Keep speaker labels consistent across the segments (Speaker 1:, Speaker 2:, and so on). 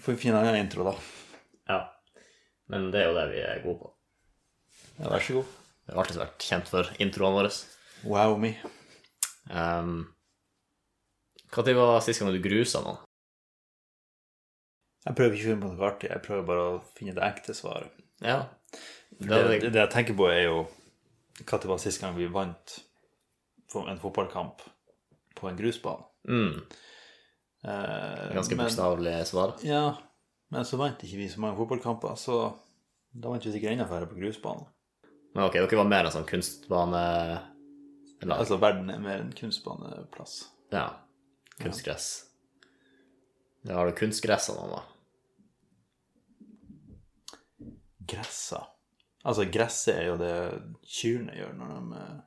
Speaker 1: Får vi finne en intro, da.
Speaker 2: Ja. Men det er jo det vi er gode på.
Speaker 1: Ja, vær så god.
Speaker 2: Vi har alltid vært kjent for introene våre.
Speaker 1: Wow me.
Speaker 2: Um, Når var sist gang du grusa noen?
Speaker 1: Jeg prøver ikke å finne på noe artig, jeg prøver bare å finne det ekte svaret.
Speaker 2: Ja. Det
Speaker 1: Det,
Speaker 2: hadde
Speaker 1: det, det jeg tenker på, er jo hva det var sist gang vi vant for- en fotballkamp på en grusbane.
Speaker 2: mm,
Speaker 1: Eh,
Speaker 2: ganske
Speaker 1: men-
Speaker 2: bokstavelig svar.
Speaker 1: Ja, men så vant ikke vi så mange fotballkamper, så da vant vi sikkert enda færre på grusbanen.
Speaker 2: Men ok, dere var mer en sånn kunstbane... Eller,
Speaker 1: Altså, verden er mer en kunstbaneplass.
Speaker 2: ja, kunstgress. Da har du kunstgress av noen, da.
Speaker 1: Gressa. Altså, gresset er jo det kyrne gjør når de eh,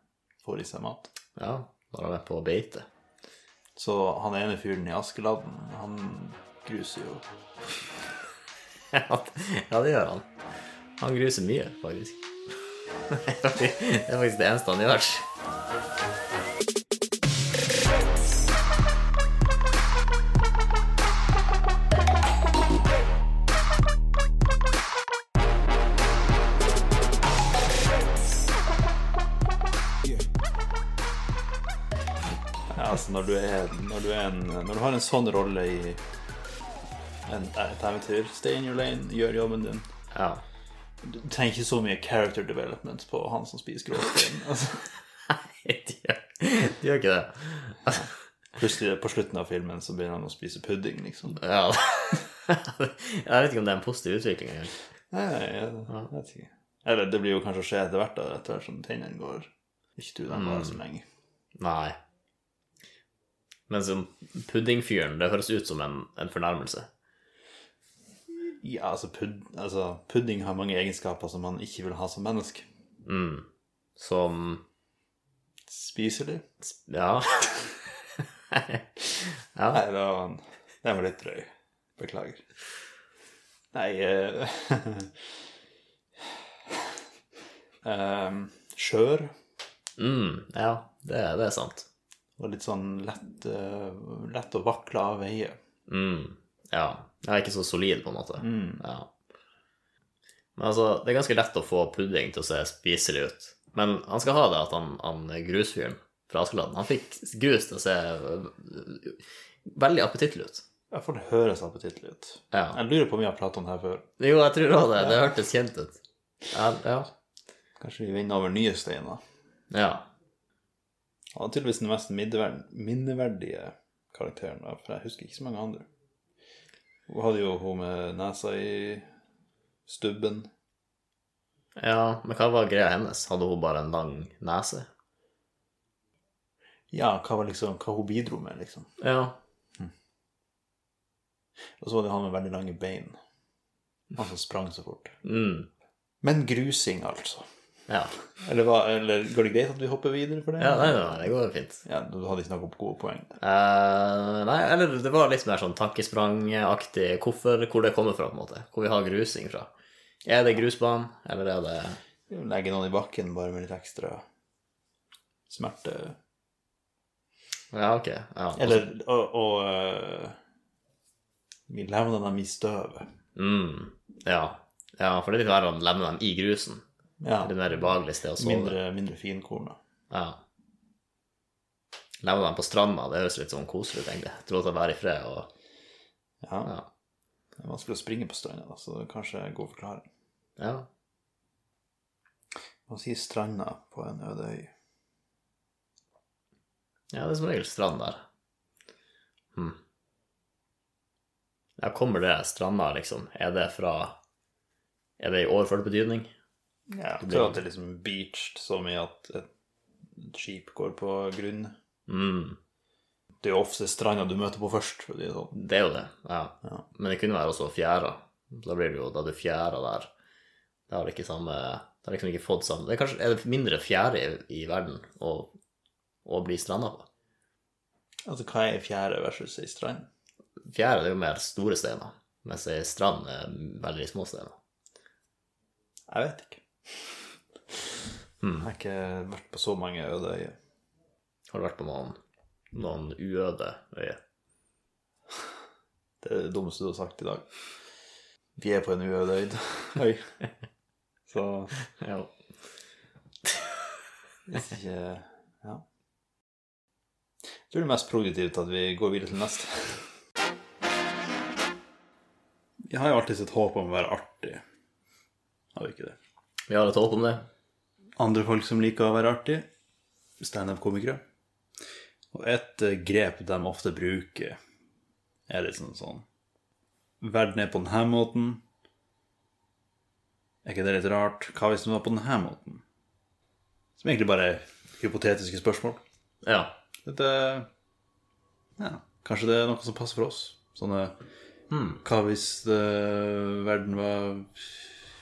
Speaker 1: får i seg mat.
Speaker 2: Ja, når de er på beite.
Speaker 1: Så han ene fyren i Askeladden, han gruser jo.
Speaker 2: ja, det gjør han. Han gruser mye, faktisk. det er faktisk det eneste han gjør.
Speaker 1: Ja, altså, når du, er, når, du er en, når du har en sånn rolle i en, et eventyr, stay in your lane, gjør jobben din.
Speaker 2: Ja.
Speaker 1: Du trenger ikke så mye character development på han som spiser gråstein. Altså.
Speaker 2: Nei, de gjør, de gjør ikke det.
Speaker 1: Plutselig på slutten av filmen så begynner han å spise pudding, liksom.
Speaker 2: Ja. Jeg vet ikke om det er en positiv utvikling engang.
Speaker 1: Nei, jeg, jeg vet ikke. Eller det blir jo kanskje å skje etter hvert, da, etter hvert som tennene går. Ikke du den bare så lenge.
Speaker 2: Nei. Men som puddingfyren, det høres ut som en, en fornærmelse.
Speaker 1: Ja, altså, pud, altså, pudding har mange egenskaper som man ikke vil ha som menneske.
Speaker 2: Mm. Som
Speaker 1: Spiselig.
Speaker 2: Ja.
Speaker 1: Nei, det var en, den var litt drøy. Beklager. Nei eh, em, eh, Skjør
Speaker 2: Mm, ja, det, det er sant.
Speaker 1: og litt sånn lett, eh, lett å vakle av veie.
Speaker 2: Mm, ja. Jeg er ikke så solid, på en måte.
Speaker 1: Mm.
Speaker 2: Ja. Men altså, det er ganske lett å få pudding til å se spiselig ut. Men han skal ha det at han, han grusfyren fra Askeladden Han fikk grus til å se øh, veldig appetittlig ut.
Speaker 1: I hvert fall det høres appetittlig ut.
Speaker 2: Ja.
Speaker 1: Jeg lurer på om vi har pratet om det her før.
Speaker 2: Jo, jeg tror også det. Det hørtes kjent ut. Ja. ja.
Speaker 1: Kanskje vi vinner over nye steiner.
Speaker 2: ja.
Speaker 1: Han er tydeligvis den mest middever- minneverdige karakteren, da, for jeg husker ikke så mange andre. Hun hadde jo hun med nesa i stubben.
Speaker 2: ja. Men hva var greia hennes? Hadde hun bare en lang nese?
Speaker 1: Ja, hva var liksom, hva hun bidro med, liksom.
Speaker 2: Ja.
Speaker 1: Og så var det han med veldig lange bein. Han som sprang så fort.
Speaker 2: Mm.
Speaker 1: Men grusing, altså.
Speaker 2: Ja.
Speaker 1: Eller, hva, eller går det greit at vi hopper videre for det?
Speaker 2: ja nei, nei, nei, det går jo fint.
Speaker 1: Ja, Du hadde ikke noen gode poeng der.
Speaker 2: Eh, nei, eller det var litt mer sånn tankesprangaktig hvorfor, hvor det kommer fra, på en måte. Hvor vi har grusing fra. Er det grusbanen, eller er det
Speaker 1: Legge noen i bakken bare med litt ekstra smerte.
Speaker 2: Ja, ok. Ja.
Speaker 1: Eller og, og øh, Vi levner dem i støvet.
Speaker 2: Mm, ja. ja, for det er litt verre å levne dem i grusen.
Speaker 1: Ja.
Speaker 2: Det er mer ubehagelig sted å sove.
Speaker 1: Mindre, mindre finkorn. da.
Speaker 2: Ja. Levne dem på stranda, det høres litt sånn koselig ut, egentlig. Du låter dem være i fred og
Speaker 1: Ja.
Speaker 2: Ja.
Speaker 1: Det er vanskelig å springe på stranda, da, så det er kanskje en god forklaring.
Speaker 2: ja.
Speaker 1: Man sier stranda på en øde øy.
Speaker 2: Ja, det er som regel strand der. Hm. Ja, kommer det stranda, liksom? Er det fra Er det i overført betydning?
Speaker 1: Ja, jeg tror at det er liksom beached så mye at et et skip går på grunn.
Speaker 2: Mm,
Speaker 1: Det er jo ofte stranda du møter på først. for å si det sånn.
Speaker 2: det er jo det, ja.
Speaker 1: Ja.
Speaker 2: Men det kunne være også fjæra. Da blir det jo Da du fjæra der, det har ikke samme Det har liksom ikke fått samme det er, kanskje, er det mindre fjære i, i verden å, å bli stranda på?
Speaker 1: Altså, hva er ei fjære versus ei strand?
Speaker 2: Fjære det er jo mer store steiner, mens ei strand er veldig små steiner.
Speaker 1: Jeg vet ikke.
Speaker 2: Hmm.
Speaker 1: Jeg har ikke vært på så mange øde øyer.
Speaker 2: Har du vært på noen, noen uøde øyer?
Speaker 1: Det Det er det dummeste du har sagt i dag. Vi er på en uøyd øyd. Øy. Så
Speaker 2: Ja.
Speaker 1: hvis ikke Ja. Jeg tror det er mest produktivt at vi går videre til neste. Jeg har jo alltid sitt håp om å være artig. Har vi ikke det?
Speaker 2: Vi har et håp om det.
Speaker 1: andre folk som liker å være artig, standup-komikere. Og et eh, grep de ofte bruker, er liksom sånn Verden er på denne måten. Er ikke det litt rart? Hva hvis den var på denne måten? Som egentlig bare er hypotetiske spørsmål.
Speaker 2: Ja.
Speaker 1: Dette Ja, kanskje det er noe som passer for oss. Sånne
Speaker 2: Hmm.
Speaker 1: Hva hvis eh, verden var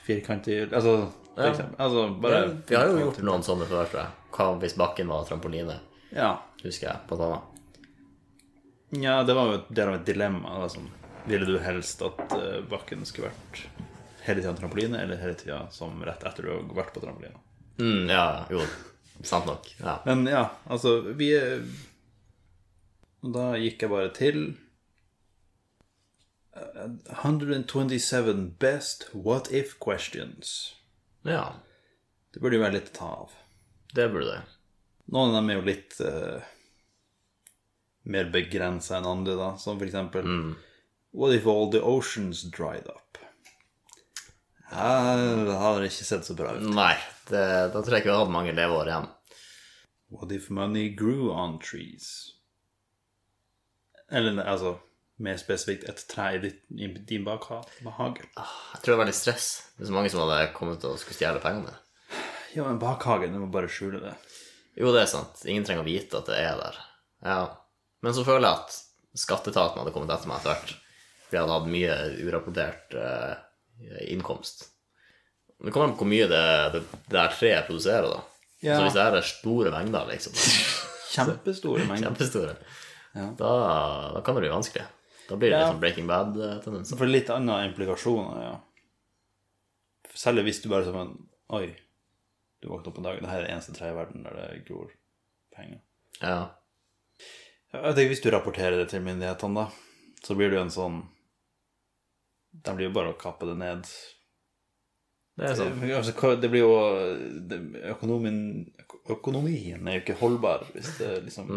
Speaker 1: firkantig Altså, for
Speaker 2: Ja.
Speaker 1: eksempel. Altså, bare
Speaker 2: Vi har jo gjort noen sånne før, tror jeg. Hva hvis bakken var trampoline?
Speaker 1: Ja.
Speaker 2: Husker jeg, blant annet.
Speaker 1: Ja, det var jo et del av et dilemma. da, som- Ville du helst at eh, bakken skulle vært hele tida trampoline, eller hele tida som rett etter du har vært på trampoline?
Speaker 2: Mm, ja, jo. Sant nok. Ja.
Speaker 1: Men ja, altså Vi er og Da gikk jeg bare til eh, 127 best what if questions.
Speaker 2: ja.
Speaker 1: Det burde jo være litt å ta av.
Speaker 2: Det burde det.
Speaker 1: Noen av dem er jo litt eh, mer begrensa enn andre, da. Som for eksempel What if all the oceans dried up? Her har det ikke sett så bra ut.
Speaker 2: Nei, det, da tror jeg ikke vi hadde mange leveår igjen.
Speaker 1: What if money grew on trees? Eller ne, altså mer spesifikt et tre i ditt- i din bakhage.
Speaker 2: Jeg tror det var litt stress. Det er så mange som hadde kommet og skulle stjele pengene.
Speaker 1: Ja, men bakhagen, du må bare skjule det.
Speaker 2: Jo, det er sant. Ingen trenger å vite at det er der. Ja. Men så føler jeg at skatteetaten hadde kommet etter meg etter hvert. For jeg hadde hatt mye urapportert eh, innkomst. Det kommer an på hvor mye det, det, det der treet produserer, da.
Speaker 1: Ja.
Speaker 2: Så hvis det her er store mengder, liksom,
Speaker 1: Kjempestore mengder.
Speaker 2: kjempestore,
Speaker 1: Ja.
Speaker 2: da, da kan det bli vanskelig. Da blir det
Speaker 1: Ja.
Speaker 2: liksom Breaking Bad-tendenser.
Speaker 1: For litt andre implikasjoner, ja. Selv hvis du bare som en Oi, du våkner opp en dag, det her er det eneste treet i verden der det gror penger.
Speaker 2: Ja.
Speaker 1: Jeg vet ikke, Hvis du rapporterer det til myndighetene, da, så blir det jo en sånn De blir jo bare å kappe det ned.
Speaker 2: Det er sant.
Speaker 1: Altså, hva- det blir jo det- økonomien, Økonomien er jo ikke holdbar hvis det liksom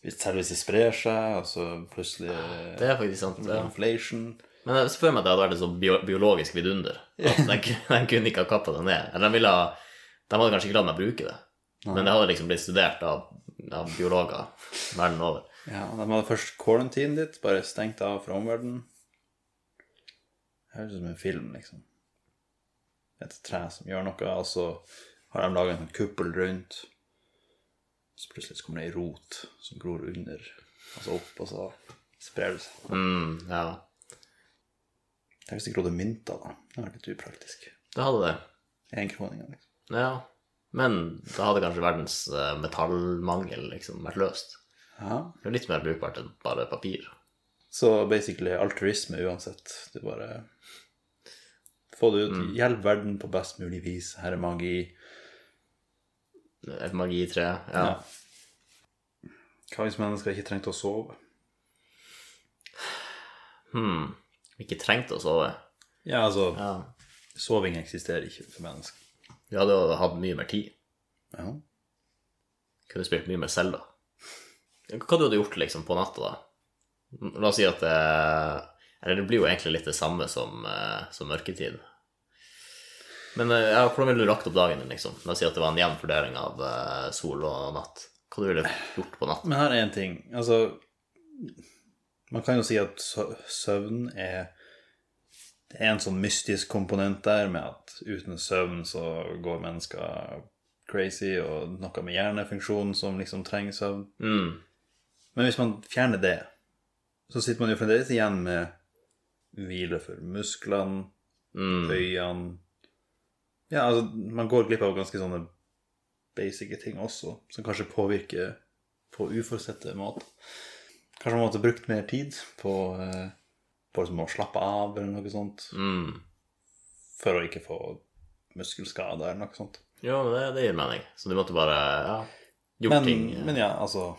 Speaker 1: hvis, Selv hvis det sprer seg, og så plutselig
Speaker 2: Det er faktisk sant. Ja.
Speaker 1: Inflation.
Speaker 2: Men jeg ser for meg at det hadde vært et sånt bio biologisk vidunder. At de, ku- de kunne ikke ha kappa det ned. Eller de, ville, ha- de hadde kanskje ikke latt meg bruke det. Men det hadde liksom blitt studert av, av biologer verden over.
Speaker 1: Ja, De hadde først quarantine ditt, bare stengt av fra omverdenen. Det Høres ut som en film, liksom. Et tre som gjør noe, og så har de laga en sånn kuppel rundt. Så plutselig så kommer det ei rot som gror under, og så opp, og så sprer det seg.
Speaker 2: Mm, ja,
Speaker 1: Tenk hvis det grodde mynter, da. Det hadde vært litt upraktisk.
Speaker 2: det hadde det.
Speaker 1: Enkroninga, liksom.
Speaker 2: Ja. Men da hadde kanskje verdens eh, metallmangel liksom vært løst.
Speaker 1: Ja.
Speaker 2: Det er litt mer brukbart enn bare papir.
Speaker 1: Så basically altruisme uansett. Du bare Få det ut. Hjelp verden på best mulig vis. Her er magi.
Speaker 2: Et magitre. Ja.
Speaker 1: Ja. Hva hvis mennesker ikke trengte å sove?
Speaker 2: Hmm. Ikke trengt å sove.
Speaker 1: Ja, altså,
Speaker 2: Ja.
Speaker 1: soving eksisterer ikke for mennesker.
Speaker 2: Vi hadde jo hatt mye mer tid.
Speaker 1: Ja.
Speaker 2: kunne spilt mye med Zelda. Hva du hadde gjort liksom på natta, da? La oss si at det Eller det blir jo egentlig litt det samme som, eh, som mørketid. Men eh, ja, hvordan ville du lagt opp dagen din, liksom? La oss si at det var en jevn fordeling av eh, sol og natt. Hva du ville gjort på natten?
Speaker 1: Men her er en ting. Altså, man kan jo si at sø- søvn er Det er en sånn mystisk komponent der med at uten søvn så går mennesker crazy, og noe med hjernefunksjonen som liksom trenger søvn.
Speaker 2: Mm.
Speaker 1: Men hvis man fjerner det, så sitter man jo fremdeles igjen med hvile for musklene,
Speaker 2: Mm.
Speaker 1: øyene Ja, altså, man går glipp av ganske sånne basice ting også, som kanskje påvirker på uforutsette måter. Kanskje man måtte brukt mer tid på, eh, på liksom å slappe av eller noe sånt,
Speaker 2: Mm.
Speaker 1: for å ikke få muskelskader eller noe sånt.
Speaker 2: Jo, men det, det gir mening. Så du måtte bare ja, gjort
Speaker 1: Men,
Speaker 2: ting eh,
Speaker 1: men ja, altså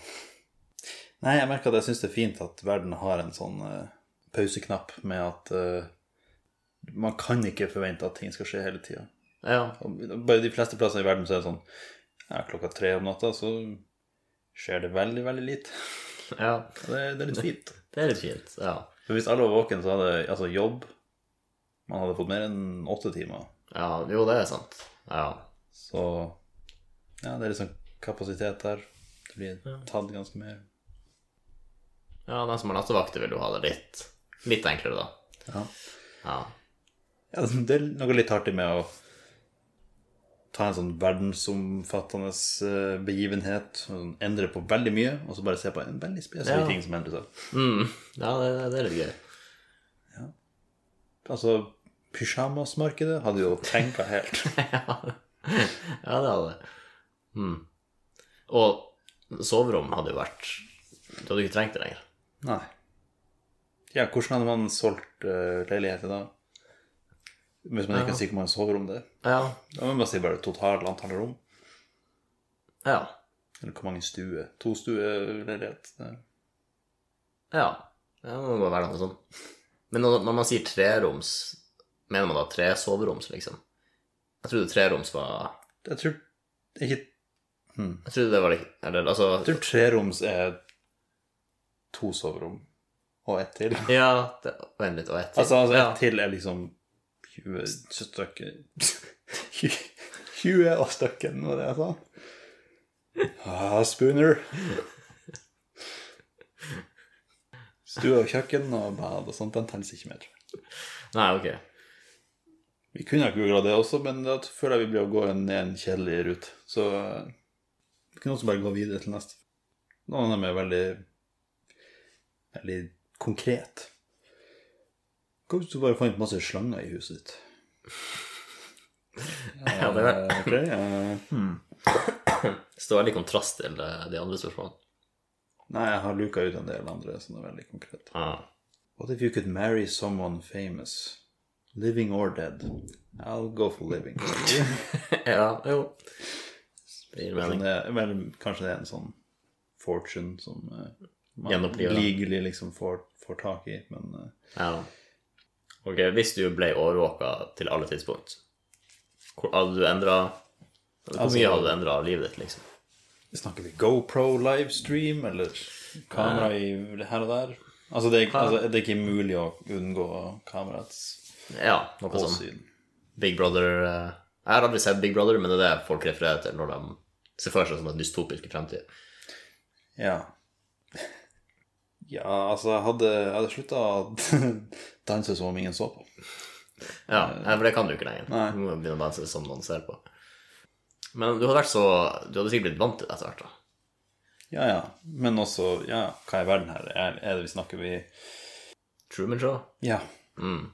Speaker 1: Nei, jeg merker at jeg syns det er fint at verden har en sånn eh, pauseknapp med at eh, man kan ikke forvente at ting skal skje hele tida.
Speaker 2: Ja.
Speaker 1: Bare de fleste plasser i verden så er det sånn ja, klokka tre om natta så skjer det veldig, veldig lite.
Speaker 2: ja.
Speaker 1: Og Det, det er litt fint.
Speaker 2: Det er litt fint. Ja.
Speaker 1: For hvis alle var våken, så hadde altså jobb Man hadde fått mer enn åtte timer.
Speaker 2: ja. Jo, det er sant. Ja.
Speaker 1: Så ja, det er liksom kapasitet der. Det blir tatt ganske mer.
Speaker 2: Ja, den som har nattevakter, vil jo ha det litt, litt enklere, da.
Speaker 1: Ja.
Speaker 2: Ja.
Speaker 1: Ja, det er noe litt artig med å ta en sånn verdensomfattende eh, begivenhet, og sånn endre på veldig mye, og så bare se på en veldig spesifikk
Speaker 2: Ja.
Speaker 1: ting som endrer seg.
Speaker 2: Mm. Ja, det, det er litt gøy.
Speaker 1: Altså, pysjamasmarkedet hadde jo tenka helt.
Speaker 2: Ja, det hadde det. Mm. Og soverom hadde jo vært Du hadde ikke trengt det lenger.
Speaker 1: Nei. Ja, hvordan hadde man solgt eh, leiligheter da? Hvis man ikke er sikker på om man sover om det.
Speaker 2: Ja.
Speaker 1: Da må man bare si bare totalt antall rom.
Speaker 2: Ja.
Speaker 1: Eller hvor mange stuer. To eh, stueleilighet. det-
Speaker 2: Ja. Det må bare være noe sånn. Men når, når man sier treroms, mener man da tre soveroms, liksom? Jeg trodde treroms var
Speaker 1: Jeg tror ikke Hmm.
Speaker 2: Jeg trodde det var litt Eller altså
Speaker 1: Jeg tror treroms er to soverom og ett til.
Speaker 2: Ja, det, vent litt, og ett til.
Speaker 1: Altså, altså
Speaker 2: ja.
Speaker 1: ett til er liksom 20 stykker 20 av stykken, var det jeg sa? Ah, spooner. Stue og kjøkken og bad og sånt, den telles ikke med. tror jeg.
Speaker 2: Nei, ok.
Speaker 1: Vi kunne ha googla det også, men da føler jeg vi blir å gå ned en kjedelig rute. Så eh, vi kunne også bare gå videre til neste. Noen av dem er veldig veldig konkret. Hva hvis du bare fant masse slanger i huset ditt?
Speaker 2: Ja, det var,
Speaker 1: Eh, ok, eh, hmm.
Speaker 2: står veldig i kontrast til eh, de andre spørsmålene.
Speaker 1: Nei, jeg har luka ut en del andre som er veldig konkrete.
Speaker 2: Ja.
Speaker 1: What if you could marry someone famous? Living or dead? I'll go for living.
Speaker 2: ja, jo. Det gir mening.
Speaker 1: Men det, vel, kanskje det er en sånn fortune som eh, man
Speaker 2: Gjenoppliver.
Speaker 1: legally liksom får, får tak i, men eh,
Speaker 2: Ja. Ok, hvis du ble overvåka til alle tidspunkt, hvor hadde du endra Hvor
Speaker 1: Altså-
Speaker 2: mye hadde du endra av livet ditt, liksom?
Speaker 1: Snakker vi GoPro livestream, eller kamera i det her og der? Altså det, er, altså, det er ikke mulig å unngå kameraets
Speaker 2: Ja, noe sånn
Speaker 1: åsyn.
Speaker 2: Big Brother eh, Jeg har aldri sett Big Brother, men det er det folk refererer til når de ser for seg sånne dystopiske fremtid.
Speaker 1: Ja. Ja, altså, jeg hadde, jeg hadde slutta å danse som om ingen så på.
Speaker 2: Ja, nei, for det kan du ikke lenger.
Speaker 1: Eh. Nei.
Speaker 2: Du må begynne å danse som noen ser på. Men du hadde vært så Du hadde sikkert blitt vant til det etter hvert, da.
Speaker 1: Ja, ja. Men også, ja, hva i verden her er, er det vi snakker vi
Speaker 2: Truman Show.
Speaker 1: Ja.
Speaker 2: Mm.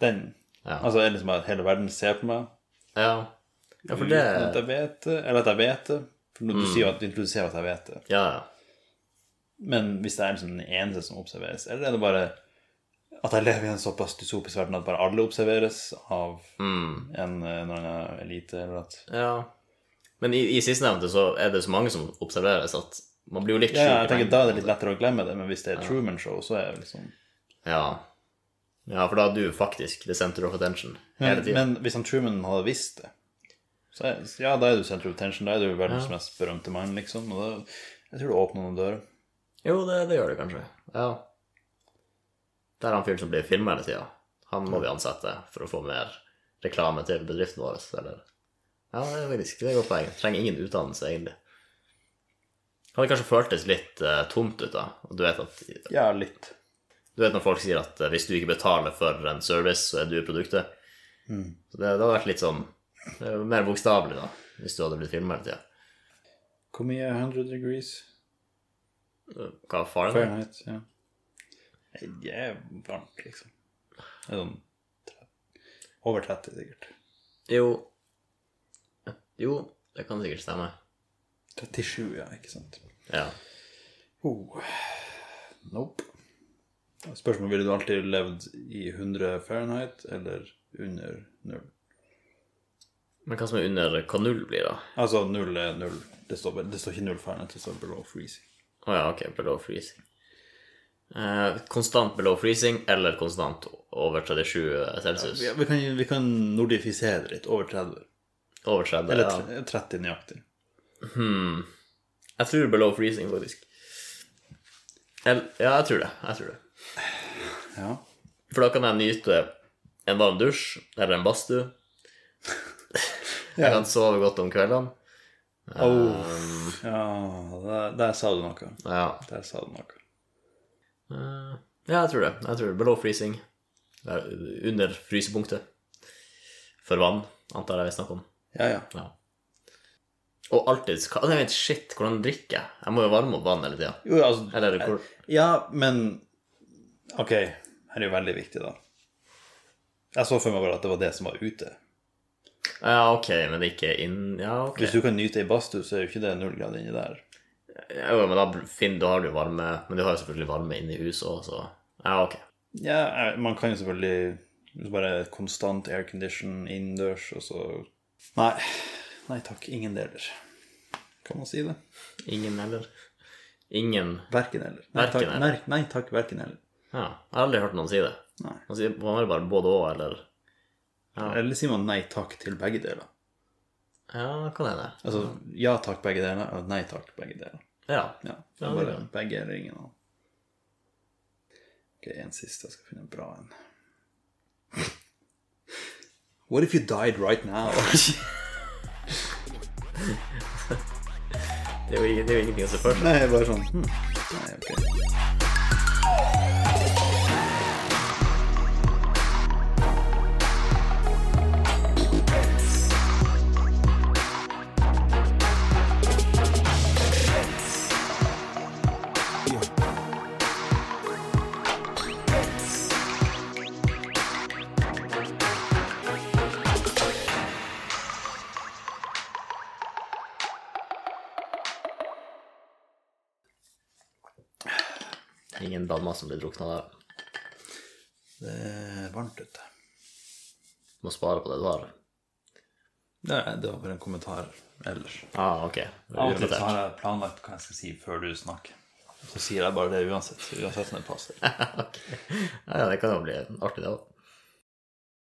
Speaker 1: Den.
Speaker 2: Ja.
Speaker 1: Altså, er det liksom at hele verden ser på meg?
Speaker 2: Ja. ja, for det Mm.
Speaker 1: Uten at jeg vet Mm. det, eller at jeg vet det. For når du sier jo at du introduserer at jeg vet det.
Speaker 2: Ja, ja.
Speaker 1: Men hvis det er liksom den eneste som observeres, eller er det bare at jeg lever i en såpass dystopisk verden at bare alle observeres av
Speaker 2: Mm.
Speaker 1: en eh, eller annen elite, eller at
Speaker 2: Ja. Men i, i sistnevnte så er det så mange som observeres at man blir jo litt
Speaker 1: Ja, ja,
Speaker 2: sjuk i
Speaker 1: jeg tenker
Speaker 2: lengden.
Speaker 1: Da er det litt lettere å glemme det, men hvis det er Truman Show, så er det liksom
Speaker 2: Ja. ja, for da er du faktisk the center of attention hele
Speaker 1: Men,
Speaker 2: tiden.
Speaker 1: men hvis han Truman hadde visst det, så er, ja, da er du center of attention, da er du verdens
Speaker 2: Ja.
Speaker 1: mest berømte mann, liksom. Og da, jeg tror det åpner noen dører.
Speaker 2: Jo, det, det gjør det kanskje. Ja. Der er han fyren som blir filma hele tida. Han må vi ansette for å få mer reklame til bedriften vår. Eller. Ja, det er faktisk det er et godt poeng. Trenger ingen utdannelse, egentlig. Hadde kanskje føltes litt eh, tomt ut, da. Og du vet at
Speaker 1: Ja, litt.
Speaker 2: Du vet når folk sier at eh, hvis du ikke betaler for en service, så er du produktet.
Speaker 1: Mm.
Speaker 2: Så det, det hadde vært litt sånn eh, mer bokstavelig, da, hvis du hadde blitt filma hele tida.
Speaker 1: Hvor mye er 100 degrees?
Speaker 2: Hva er faren?
Speaker 1: Fahrenheit, ja. Nei, Det er varmt, liksom. Det er sånn tre- over 30, sikkert.
Speaker 2: Jo Jo, det kan sikkert stemme.
Speaker 1: 37, ja, ikke sant.
Speaker 2: Ja.
Speaker 1: Oh. Nope. Spørsmålet ville du alltid levd i 100 Fahrenheit eller under null?
Speaker 2: Men hva som er under hva null blir, da?
Speaker 1: Altså, null er null. Det står, bare- det står ikke null Fahrenheit, det står below freezing.
Speaker 2: Å ja, ok, below freezing. Eh, konstant below freezing eller konstant over 37 celsius.
Speaker 1: Ja, vi, kan, vi kan nordifisere det litt. Over 30.
Speaker 2: Over 30,
Speaker 1: Eller
Speaker 2: ja.
Speaker 1: tre- 30 nøyaktig.
Speaker 2: Hmm. Jeg tror below freezing, faktisk. El, ja, jeg tror det. Jeg tror det.
Speaker 1: Ja.
Speaker 2: For da kan jeg nyte en varm dusj eller en badstue. Jeg kan sove godt om kveldene.
Speaker 1: Oh. ja der, der sa du noe.
Speaker 2: Ja.
Speaker 1: Der sa du noe.
Speaker 2: Eh, ja, jeg tror det. Jeg tror det. Below freezing. Det er Under frysepunktet. For vann, antar jeg vi snakker om.
Speaker 1: Ja, ja.
Speaker 2: Ja. Og alltid skal Nei, vent, shit, hvordan drikker jeg? Jeg må jo varme opp vann hele tida.
Speaker 1: Jo, altså
Speaker 2: Eller hvor
Speaker 1: Ja, men Ok, her er jo veldig viktig, da. Jeg så for meg bare at det var det som var ute.
Speaker 2: Ja, ok, men det er ikke inn Ja, ok.
Speaker 1: Hvis du kan nyte ei badstue, så er jo ikke det null grad inni der.
Speaker 2: Jo, men da, Finn, da har du jo varme Men du har jo selvfølgelig varme inne i huset òg, så Ja, ok.
Speaker 1: Ja, jeg- man kan jo selvfølgelig bare konstant aircondition innendørs, og så Nei. Nei takk. Ingen deler. Kan man si det?
Speaker 2: Ingen heller. Ingen
Speaker 1: Verken eller. Nei
Speaker 2: Verken
Speaker 1: takk,
Speaker 2: eller.
Speaker 1: nei, nei, takk verken eller.
Speaker 2: Ja, jeg har aldri hørt noen si det.
Speaker 1: Nei.
Speaker 2: Man sier man har jo bare både òg, eller Ja.
Speaker 1: Eller sier man nei takk til begge deler?
Speaker 2: Ja, hva er det?
Speaker 1: Altså ja takk, begge deler, og nei takk, begge deler.
Speaker 2: Ja.
Speaker 1: Ja, det
Speaker 2: Ja,
Speaker 1: er
Speaker 2: det
Speaker 1: bare
Speaker 2: kan.
Speaker 1: begge eller ingen av dem. Ok, en siste. Jeg skal finne en bra en. What if you died right now?
Speaker 2: Det er jo, ikke- det er jo ingenting å se for seg.
Speaker 1: Nei, jeg er bare sånn hmm. Nei, ok.
Speaker 2: Ingen damer som blir drukna der.
Speaker 1: Det er varmt ute.
Speaker 2: Må spare på det du har.
Speaker 1: Det, er- det var bare en kommentar ellers.
Speaker 2: Ah, ok. Det er
Speaker 1: Av og til så
Speaker 2: urelatert.
Speaker 1: har jeg planlagt hva jeg skal si før du snakker. Så sier jeg bare det uansett. Uansett når det passer.
Speaker 2: Ja, ja, det kan jo bli artig, det òg.